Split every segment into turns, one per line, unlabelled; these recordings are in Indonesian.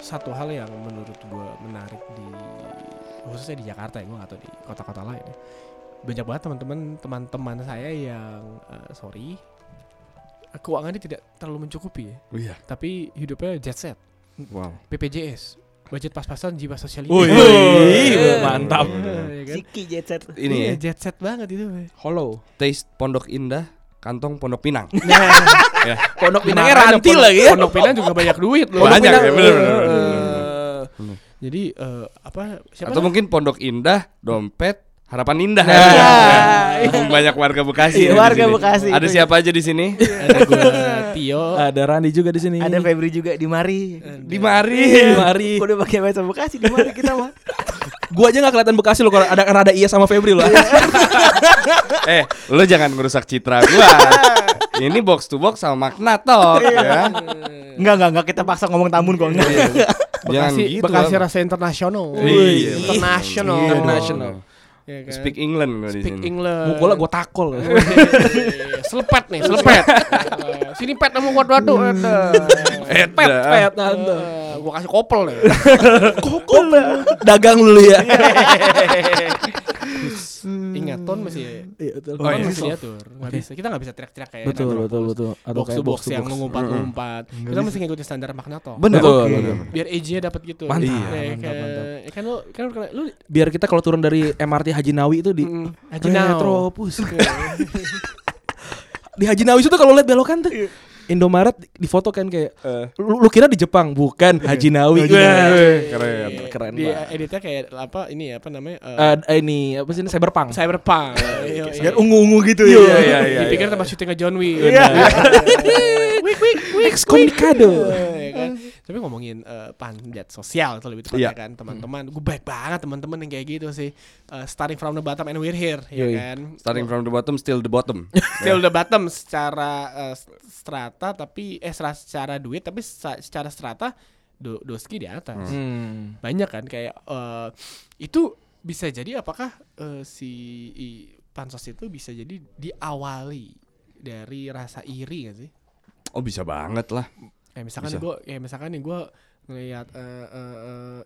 satu hal yang menurut gue menarik di khususnya di Jakarta ya gue atau di kota-kota lain ya. banyak banget teman-teman teman-teman saya yang eh, sorry keuangannya tidak terlalu mencukupi ya
Oh iya.
tapi hidupnya jet set
Wow.
BPJS budget pas-pasan jiwa sosial Iya kan?
Wih, Iya.
Wih,
mantap.
kan?
Ziki jet set.
Ini ya,
jet set banget itu Bay.
Hollow.
taste Pondok Indah, kantong Pondok Pinang.
Nah.
Ya.
Pondok Pinangnya
Makanya
ranti
pondok-
lagi ya.
pondok pinang juga banyak duit loh
Banyak ya,
Pinang,
bener,
eh,
bener, bener,
eh,
jadi eh, apa siapa
Atau
lah?
mungkin Pondok Indah, dompet, harapan indah.
Nah.
Ya.
Iya.
Mumpung Banyak warga Bekasi.
Iya,
ada di
warga
sini.
Bekasi. ya. Iya.
Ada siapa aja di sini?
ada gue Tio
Ada Randi juga di sini.
Ada Febri juga di Mari.
Di Mari.
Iya.
Mari.
Udah pakai bahasa Bekasi di Mari kita mah.
Gua aja nggak kelihatan Bekasi loh kalau ada karena ada Iya sama Febri loh.
eh, lo jangan ngerusak citra gua. Ini box to box sama Magna Talk ya.
Iya.
Iya.
Enggak enggak enggak kita paksa ngomong tamun kok. Enggak.
Jangan
Bekasi,
gitu.
Bekasi
Bang.
rasa internasional.
Iya,
internasional.
Iya,
International.
Iya kan?
Speak England gua di
Speak
sini.
English.
Mukul lah gua takol.
Iya, selepet nih, Hmm. selepet. Eh, Sini pet sama gua dua
Eh,
Pet,
dah.
pet, nanti.
Gua kasih kopel nih.
Kokol. Dagang lu ya.
Ingat ton masih
Iya, betul.
Oh,
ton
iya.
masih diatur. Nggak bisa, kita nggak bisa teriak-teriak kayak
Betul,
enak.
betul, betul. Atau
Box to
kayak
box Hmm.
to
yang
box.
mengumpat-ngumpat. Kita mesti ngikutin standar Magnato.
Bener.
Betul,
Oke.
bener.
Biar edge-nya dapat gitu.
Mantap,
Iya,
mantap,
kayak-
mantap.
ya Kan lu kan lu- lu
Biar kita kalau turun dari MRT Haji Nawawi itu di
Mm, Haji Nao.
Retropus. di Haji Nawawi itu kalau lihat belokan tuh
Iya.
Indomaret di foto kan kayak
Eh.
lu, lu kira di Jepang bukan Haji Iya. Nawawi.
Wih, Iya, Keren.
Iya,
keren
di
banget.
editnya kayak apa ini ya, apa namanya? eh,
Eh, ini apa sih ini cyberpunk.
Cyberpunk. Iya, iya.
Biar ungu-ungu gitu ya.
Iya, iya, iya.
Dipikir
iya.
tempat syutingnya John Wick.
Iya.
Wick, Wick, Wick,
Excommunicado.
Iya kan? Tapi ngomongin eh, panjat sosial itu lebih tepatnya
Iya.
kan teman-teman. Gue baik banget teman-teman yang kayak gitu sih. Eh, starting from the bottom and we're here, ya
Yoi.
kan?
Starting from the bottom, still the bottom.
Still the bottom secara eh, strata tapi eh secara, secara duit tapi sa- secara strata do, doski di atas
Hmm.
banyak kan kayak eh, itu bisa jadi apakah eh, si i- pansos itu bisa jadi diawali dari rasa iri gak sih?
Oh bisa banget lah.
Kayak misalkan
Bisa.
gue, kayak misalkan nih gue ngelihat eh, eh, eh,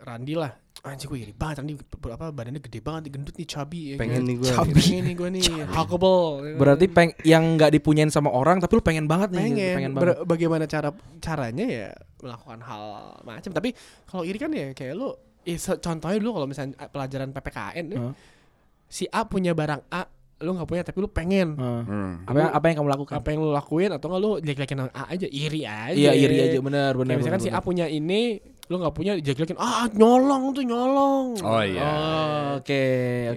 Randi lah, anjing gue iri banget Randi apa badannya gede banget, gendut nih chubby ya kan?
Pengen nih gua.
Chubby. pengen nih gue nih, huggable. ya kan?
Berarti peng yang nggak dipunyain sama orang tapi lu pengen banget nih.
pengen,
gitu,
Ber- bagaimana cara caranya ya melakukan hal macam tapi kalau iri kan ya kayak lu ya se- contohnya dulu kalau misalnya eh, pelajaran PPKN ya,
Heeh.
si A punya barang A lu nggak punya tapi lu pengen
Heeh.
Hmm.
apa yang, apa yang kamu lakukan?
apa yang lu lakuin atau nggak lu jelek-jelekin orang A aja iri aja
Iya iri aja benar
Kayak
benar.
misalkan
benar,
si A
benar.
punya ini lu nggak punya jelek-jelekin ah nyolong tuh nyolong
Oh iya.
Oh, Oke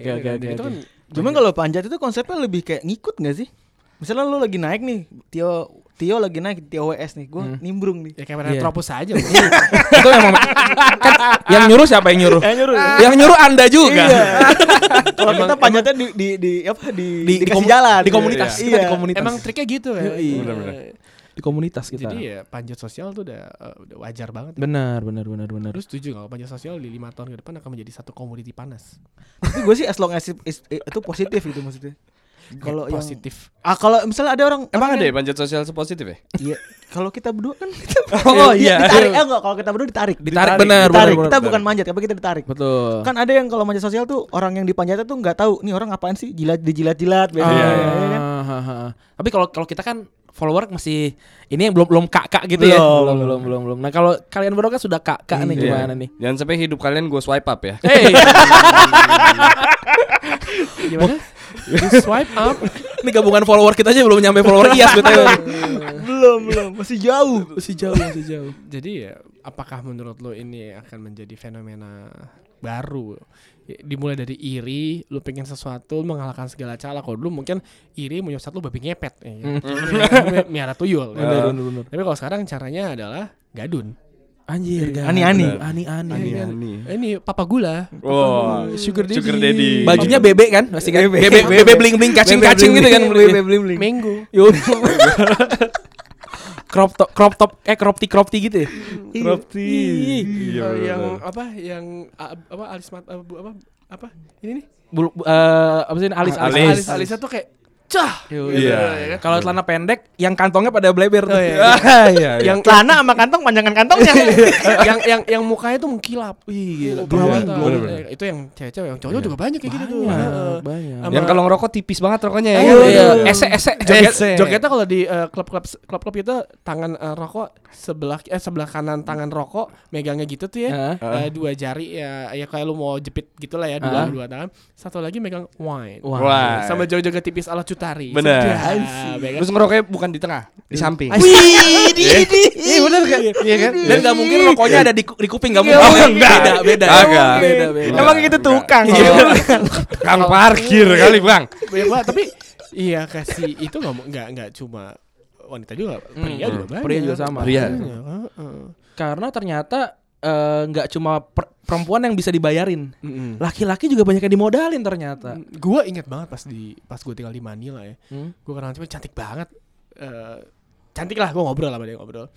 oke
Iya
oke
kan?
oke.
Itu
oke.
kan
Cuman kalau panjat itu konsepnya lebih kayak ngikut gak sih? Misalnya lu lagi naik nih, Tio Tio lagi naik Tio WS nih,
Hmm.
gua nimbrung nih.
ya kayak
Iya.
retropus aja
Itu emang kan yang nyuruh siapa yang nyuruh?
Eh nyuruh.
yang nyuruh Anda juga.
Iya. Kalau kita panjatnya di di di apa di
Di, di,
dikasih
komu-
jalan
di komunitas
Iya.
kita di komunitas.
emang triknya gitu ya
Iya.
Bener-bener.
di komunitas kita.
jadi ya panjat sosial tuh udah, eh, udah wajar banget
Benar benar benar benar.
Terus setuju kalau pajak sosial di lima tahun ke depan akan menjadi satu komoditi panas.
Tapi gue sih as long as it- is- itu positif gitu maksudnya. Kalau yang
positif.
ah kalau misalnya ada orang
Emang ada
orang
ya
yang-
panjat sosial sepositif ya?
Iya. Kalau kita berdua kan
Oh,
Di-
iya.
Ditarik eh enggak kalau kita berdua ditarik.
Ditarik, benar,
Ditarik.
benar,
Kita
benar.
bukan manjat, tapi kita ditarik.
Betul.
Kan ada yang kalau manjat sosial tuh orang yang dipanjatnya tuh nggak tahu nih orang apaan sih jilat dijilat-jilat
Ah,
biasanya. ya kan?
ha, ha, ha. Tapi kalau kalau kita kan follower masih ini yang belum belum kakak gitu ya.
Belum,
Belum belum belum belum. Nah kalau kalian berdua kan sudah kakak nih
Iya.
gimana nih?
Jangan sampai hidup kalian gue swipe up ya.
Hey. Gimana? You swipe up.
Ini gabungan follower kita aja belum nyampe follower Ias betul.
kan? Belum, belum, masih jauh.
Masih jauh
Iya,
masih jauh.
Jadi ya, apakah menurut lo ini akan menjadi fenomena baru? Ya, Dimulai dari iri, lu pengen sesuatu, lu mengalahkan segala cara. Kalau dulu mungkin iri menyesat lu babi ngepet. Ya, kan? Miara tuyul. ya kan?
Hmm. benar.
Tapi kalau sekarang caranya adalah gadun. Ya,
Anjir, Gan.
Ani-ani.
Ani-ani.
Ani-ani.
Ini papa gula.
Wow,
Sugar daddy.
Sugar daddy.
Bajunya
Iya.
bebek kan? Pasti kan?
Bebek.
Bebek bebek bling-bling kacing-kacing gitu kan.
bling
mango.
Yo. crop top crop top eh crop tee crop tee gitu ya.
crop tea.
Eh,
Iya,
yang
bener-bener.
apa? Yang a- apa alis mat eh, bu- apa apa? Ini nih.
Bulu eh, apa sih ini? alis
Alis.
alis.
Alis alisnya tuh kayak cah.
Yo,
Iya.
yo. Kalau celana pendek yang kantongnya pada bleber tuh.
Oh, iya,
Ah, iya, iya.
Yang
Celana sama kantong panjangan kantongnya.
Iya. Ya, yang yang yang mukanya tuh mengkilap. Ih,
gila.
Berawatan.
Iya,
bener-bener.
Eh, Itu yang cewek-cewek, yang cowok juga banyak kayak gitu tuh.
Banyak,
Heeh.
banyak.
Sama-
Yang kalau ngerokok tipis banget rokoknya ya.
Ayo,
iya.
ayo.
Ese ese
Joget,
joget.
jogetnya kalau di eh, klub-klub klub-klub itu tangan eh, rokok sebelah eh sebelah kanan tangan rokok megangnya gitu tuh ya. Eh,
Heeh.
dua jari ya ya kayak lu mau jepit gitulah ya dua
Heeh.
dua tangan. Satu lagi megang wine.
Wah.
Wah.
Sama jauh-jauh tipis ala Cutari.
Bener.
Sudah, megang.
Terus ngerokoknya bukan di tengah, di samping.
Wih, di di.
Iya bener kan? Iya kan?
Dan nggak mungkin rokoknya ada di, ku- di kuping nggak
Iya,
mungkin.
iya.
Beda beda.
Oh, Agak.
Beda beda.
Emang itu tukang.
Iya. Kang parkir
Oh, iya.
kali, Bang.
Banyak banget tapi iya kasih itu nggak mau- nggak nggak cuma wanita juga pria juga banyak.
Pria juga
Oh,
sama.
iya.
Pria.
Banyak, heeh.
Karena ternyata eh, nggak cuma per- perempuan yang bisa dibayarin. Laki-laki juga banyak yang dimodalin ternyata.
Mm, Gua inget banget pas di pas gue tinggal di Manila ya.
Iya. Hmm.
Gue kenal cewek cantik banget. Eh, cantik lah gue ngobrol sama dia ngobrol.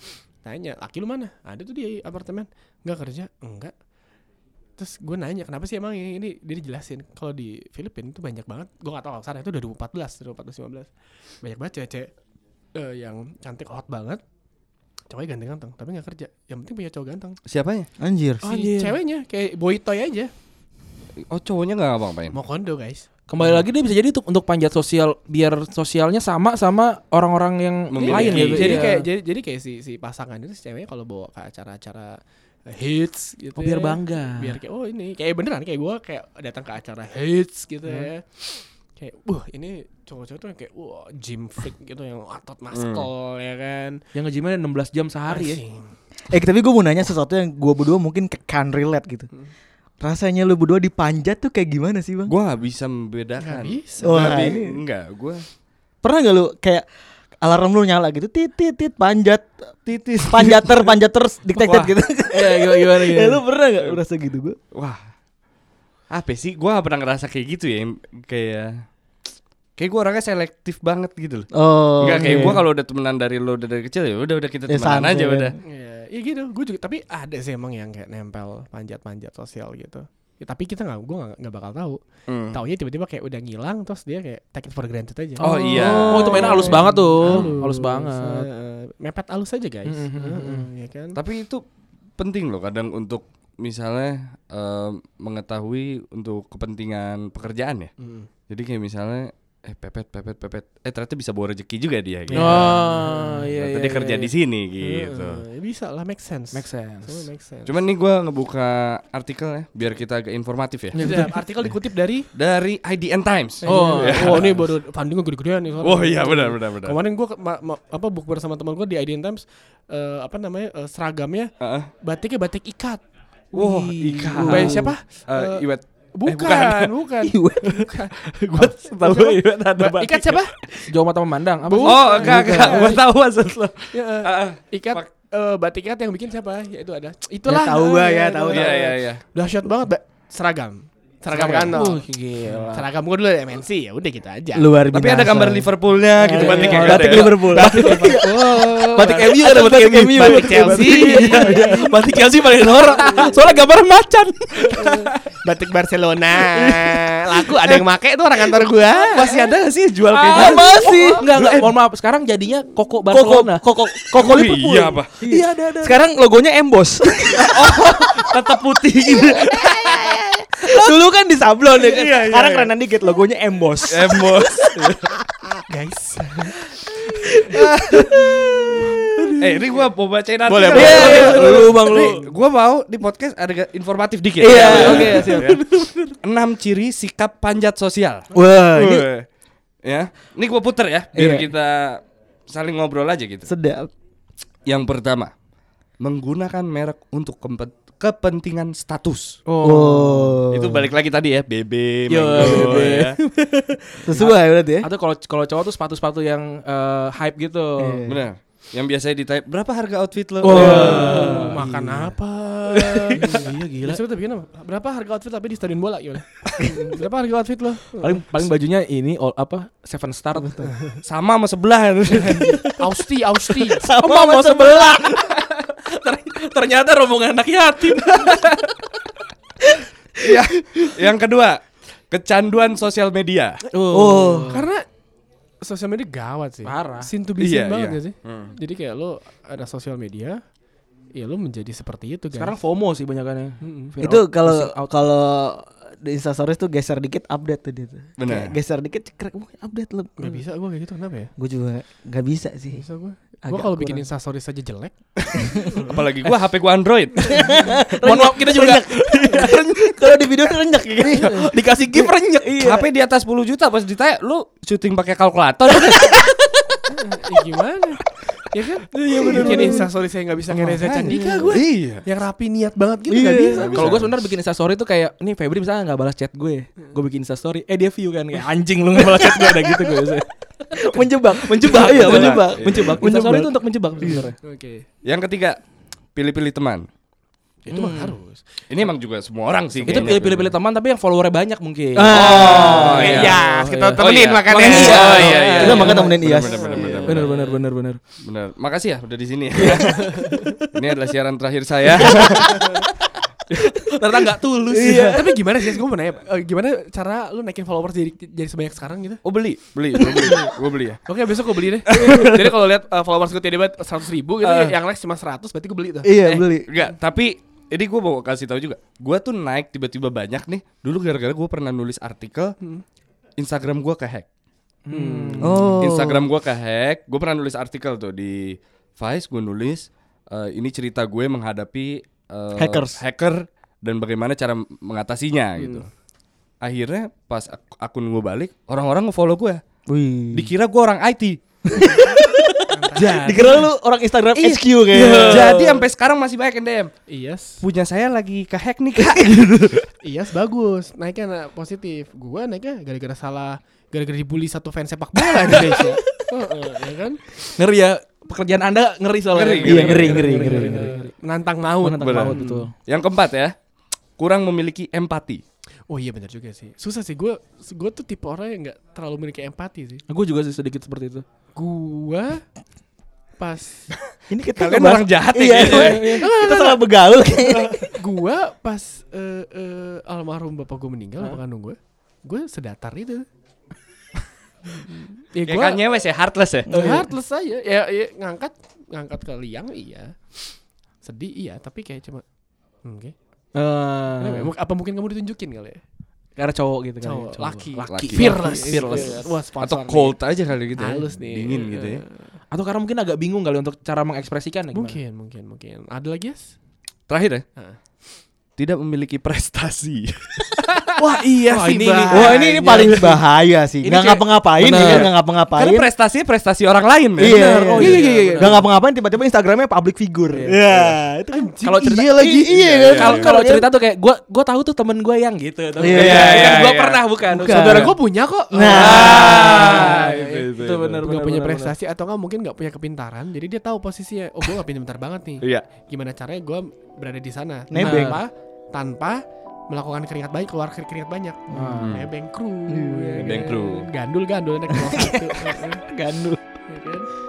Tanya laki lu mana? Ada tuh di apartemen. Nggak kerja? Enggak. Terus gue nanya kenapa sih emang ini, ini dia dijelasin kalau di Filipina itu banyak banget gue gak tau kalau sana itu 2014 2014 15 banyak banget cewek-cewek eh, yang cantik hot banget cowoknya ganteng-ganteng tapi nggak kerja yang penting punya cowok ganteng
ya?
Siapanya?
Anjir.
si
Anjir.
iya.
ceweknya kayak boy toy aja
Oh, cowoknya enggak ngapa-ngapain.
mau kondo guys
Kembali lagi dia bisa jadi untuk, untuk panjat sosial biar sosialnya sama sama orang-orang yang
Memiliki.
lain gitu.
jadi
Iya.
kayak jadi, jadi kayak si si pasangan itu si ceweknya kalau bawa ke acara-acara eh, hits gitu
Oh, biar
ya.
bangga.
biar kayak oh ini kayak beneran kayak gue kayak datang ke acara hits gitu
Hmm.
ya kayak wah ini cowok-cowok tuh yang kayak wah gym freak gitu yang otot maskol ya kan
Yang ngejimnya 16 jam sehari Hmm. ya.
Asing.
Eh tapi gue mau nanya sesuatu yang gue berdua mungkin ke- can relate gitu. Rasanya lu berdua dipanjat tuh kayak gimana sih bang?
Gua nggak bisa membedakan.
nggak bisa
Wah,
Tapi
ini.
enggak, gua
Pernah gak lu kayak alarm lu nyala gitu tit tit tit panjat titis panjater panjater dictated
Wah.
gitu.
Iya, gimana gimana.
Ya lu pernah gak merasa gitu gue?
wah. Apa sih? Gua nggak pernah ngerasa kayak gitu ya, kayak kayak gua orangnya selektif banget gitu loh.
Oh.
Enggak kayak
iya.
gua kalau udah temenan dari lo udah dari kecil ya udah udah kita
Ya,
temenan
santai
aja
kan.
udah.
Iya, ya gitu. Gue juga tapi ada sih emang yang kayak nempel panjat-panjat sosial gitu. Ya, tapi kita nggak, gue nggak nggak bakal tahu.
Hmm.
Taunya tiba-tiba kayak udah ngilang, terus dia kayak take it for granted aja.
Oh, iya.
Oh, itu mainnya halus banget tuh.
Halus.
Halus banget.
Eh, mepet halus aja guys.
Mm, mm, mm,
Heeh,
mm.
ya kan.
Tapi itu penting loh kadang untuk misalnya em, mengetahui untuk kepentingan pekerjaan ya.
Mm.
Jadi kayak misalnya eh pepet pepet pepet eh ternyata bisa bawa rezeki juga dia gitu.
Oh, iya
Ternyata
iya.
dia kerja di sini
Heeh,
gitu.
ya bisa lah make sense.
Make sense.
Semua make sense.
Cuman nih gua ngebuka artikel ya biar kita agak informatif ya.
Sudah, artikel dikutip dari
Dari IDN Times.
Oh,
Iya. Eh, Wah, ini baru fundingnya gede-gedean nih. soalnya.
Oh iya benar benar benar.
Kemarin gue apa bukber sama teman gue di IDN Times eh, apa namanya eh, seragamnya
Heeh.
batiknya batik ikat.
Wah,
Wih.
ikan.
By siapa?
Eh, Iwet.
Bukan,
bukan.
bukan. bukan.
Gua tahu Iwet ada
Ba- ikat siapa?
Jauh mata memandang. Apa?
Bu-
sih?
Oh, enggak enggak. Gua tahu maksud lo.
Ya, eh,
Heeh.
ikat
Ah, Pak-
eh, batik ikat yang bikin siapa? Ya itu ada. Itulah.
tahu gua,
Ah,
ya,
itu.
tahu,
Iya iya iya.
Dahsyat banget, Ba. seragam. Seragam
Seragam.
kantor.
Uh, gila.
Seragam gue dulu MNC ya udah gitu aja.
Luar biasa.
Tapi ada gambar Liverpoolnya gitu
Iya,
batiknya kan
Batik
ya.
Liverpool.
Batik MU ada batik MU.
Batik Chelsea.
Batik Chelsea paling norak. Soalnya gambar macan.
Batik Barcelona. Laku ada yang make tuh orang kantor gua.
Masih ada gak sih jual kayak
Ah,
gitu?
masih. Enggak enggak, mohon maaf. Sekarang jadinya Eh. Koko Barcelona.
Koko
Koko
Oh,
Liverpool.
iya, apa?
Iya, ada ada.
Sekarang logonya emboss.
tetap putih gitu.
Iya, Dulu kan di sablon ya kan. Sekarang kerenan dikit logonya emboss.
Emos.
Guys.
Eh, ini gua mau bacain kan? Iya, artikel.
Boleh,
Iya,
boleh.
Lu
Lu, Bang, lu.
Gua mau di podcast ada ga- informatif dikit.
Iya,
oke, siap.
6 ciri sikap panjat sosial.
Wah, ini
Weh. ya. Ini gua puter ya biar
Iya.
kita saling ngobrol aja gitu.
sedap.
Yang pertama, menggunakan merek untuk kempe- kepentingan status.
Oh.
Itu balik lagi tadi ya, BB,
Yo,
Mango,
BB.
ya.
Sesuai berarti ya.
Atau kalau kalau cowok tuh sepatu-sepatu yang eh, hype gitu. Iya.
Iya.
Benar. Yang biasanya ditanya berapa harga outfit lo?
Wah.
makan apa?
iya gila.
Justru tapi gini, berapa harga outfit tapi di stadion bola gimana? berapa harga outfit lo?
Paling paling bajunya ini all, apa? Seven star.
Sama sama sebelah.
Austi, Austi.
Sama mau sebelah. Ter- ternyata rombongan anak yatim.
ya. Yang kedua, kecanduan sosial media.
Oh.
Karena sosial media gawat sih.
Parah.
Sin to be seen
Iya,
banget
iya.
gak sih? Jadi kayak lo ada sosial media, ya lo menjadi seperti itu guys.
Sekarang FOMO sih banyakannya.
Mm-mm.
Fear
itu
of-
kalau kalau di Instastories tuh geser dikit update tuh dia tuh.
Bener.
Kayak geser dikit cekrek, wah update lu.
nggak bisa gue kayak gitu kenapa ya?
Gue juga nggak bisa
Nggak
sih.
Bisa gue. Gue
Agak
kalau bikin
kurang.
instastory saja jelek.
Apalagi gua HP gua Android.
Mohon maaf kita juga
kalau di video renjak ya.
dikasih
Iya.
gift renyek.
HP di atas 10 juta pas ditanya lu syuting pakai kalkulator.
ya gimana? Ya kan? Iya benar. Bikin instastory saya nggak bisa kayak Reza Candika gue.
Iya.
Yang rapi niat banget gitu
Iya.
nggak bisa.
Nggak
Kalau
bisa.
gue sebenarnya bikin instastory tuh kayak nih Febri misalnya nggak balas chat gue,
Hmm.
gue bikin instastory, eh dia view kan kayak anjing lu nggak balas chat gue ada gitu gue biasanya.
menjebak,
Menjebak,
iya, menjebak.
menjebak, menjebak.
Menjebak.
Instastory itu untuk menjebak sebenarnya.
Oke.
Yang ketiga, pilih-pilih teman.
Itu
Hmm.
mah harus.
Ini emang juga semua orang sih.
Itu pilih-pilih teman tapi yang followernya banyak mungkin.
Oh,
iya.
iya.
kita
temenin makanya.
Makanya.
Oh, iya, iya.
Kita makan temenin
Bener,
Iyas.
bener, bener, bener,
Bener bener bener bener.
Benar. Makasih ya udah di sini. Ini adalah siaran terakhir saya.
Ternyata nggak tulus.
Iya. Tapi gimana sih? Gue mau nanya. eh, Gimana cara lu naikin followers jadi jadi sebanyak sekarang gitu?
Oh beli, beli, gue beli, gue beli ya.
Oke besok gue beli deh Jadi kalau lihat uh, followers gue tiba-tiba 100 ribu gitu Yang like cuma 100 berarti gue beli tuh
Iya, beli.
Enggak, tapi ini gue mau kasih tahu juga. Gue tuh naik tiba-tiba banyak nih. Dulu gara-gara gue pernah nulis artikel,
Hmm.
Instagram gue kehack.
Oh.
Instagram gue kehack. Gue pernah nulis artikel tuh di Vice. Gue nulis eh, ini cerita gue menghadapi eh,
Hackers. Hmm.
hacker dan bagaimana cara mengatasinya gitu. Akhirnya pas ak- akun gue balik, orang-orang nge-follow gue.
Wih.
Dikira gue orang IT.
Dikira lu orang Instagram HQ kayaknya.
Jadi sampai sekarang masih banyak yang DM.
Iyes
Punya saya lagi kehack nih kak.
Iyes bagus Naiknya nah, positif Gue naiknya gara-gara salah Gara-gara dibully satu fans sepak bola Indonesia Heeh, ya kan
Ngeri ya pekerjaan anda ngeri soalnya.
Ngeri,
Iya, ngeri ngeri ngeri. ngeri.
Menantang maut
Menantang
Bener.
maut betul.
Yang keempat ya, kurang memiliki empati.
Oh iya benar juga sih Susah sih Gue gue tuh tipe orang yang gak terlalu memiliki empati sih
Gue juga sih sedikit seperti itu.
Gue Pas
Ini kita
Kalian
ngebahas-
orang jahat ya
Iya,
kayaknya ya.
iya. Kita salah begaul kayaknya.
Gue pas eh, eh, Almarhum bapak gue meninggal Bapak kandung gue Gue sedatar itu Ya,
Kayak
gua-
kan nyewes ya, heartless ya.
Heartless aja. Ya, ya, ngangkat ngangkat ke liang iya. Sedih iya, tapi kayak cuma hmm, oke. Kenapa ya?
Eh,
Mung- Apa mungkin kamu ditunjukin kali ya?
karena cowok gitu kan.
Cowok, laki,
Laki.
fearless,
Fearless.
Wah, sponsor
Atau
nih.
cold aja kali gitu ya.
Halus nih.
Dingin gitu ya.
Atau karena mungkin agak bingung kali untuk cara mengekspresikan.
Mungkin, mungkin, mungkin. Ada lagi, Yes?
Terakhir ya,
Heeh.
tidak memiliki prestasi.
Wah iya
Wah,
sih.
ini-
Bang.
ini-
Wah, ini ini paling bahaya sih.
Ini
Enggak
kayak-
ngapa-ngapain ya,
Bener.
enggak ngapa-ngapain.
Karena prestasi prestasi orang lain ya.
Iya,
Bener. Oh,
iya,
iya,
iya,
iya,
iya. Gak ngapa-ngapain tiba-tiba Instagramnya public figure. Iya, itu kan
Kalau cerita-
iya lagi, iya. kan?
Kalau
Iya.
kalau cerita tuh kayak gue gue tahu tuh temen gue yang gitu. Tapi
Iya,
kan-
iya,
kan
iya,
Gue
iya.
pernah bukan.
Bukan.
Saudara
Iya.
gue punya kok. iya.
Nah.
Ah,
itu, itu,
itu
itu.
benar
Nggak punya prestasi atau nggak mungkin nggak punya kepintaran jadi dia tahu posisinya oh gue nggak pintar banget nih
Iya.
gimana caranya gue berada di sana
Nebeng.
tanpa tanpa melakukan keringat banyak keluar keringat keringat banyak
Hmm.
nebeng kru
Iya.
ya
Nebeng
kan?
kru.
gandul gandul naik kelas satu
Gandul.
ya kan?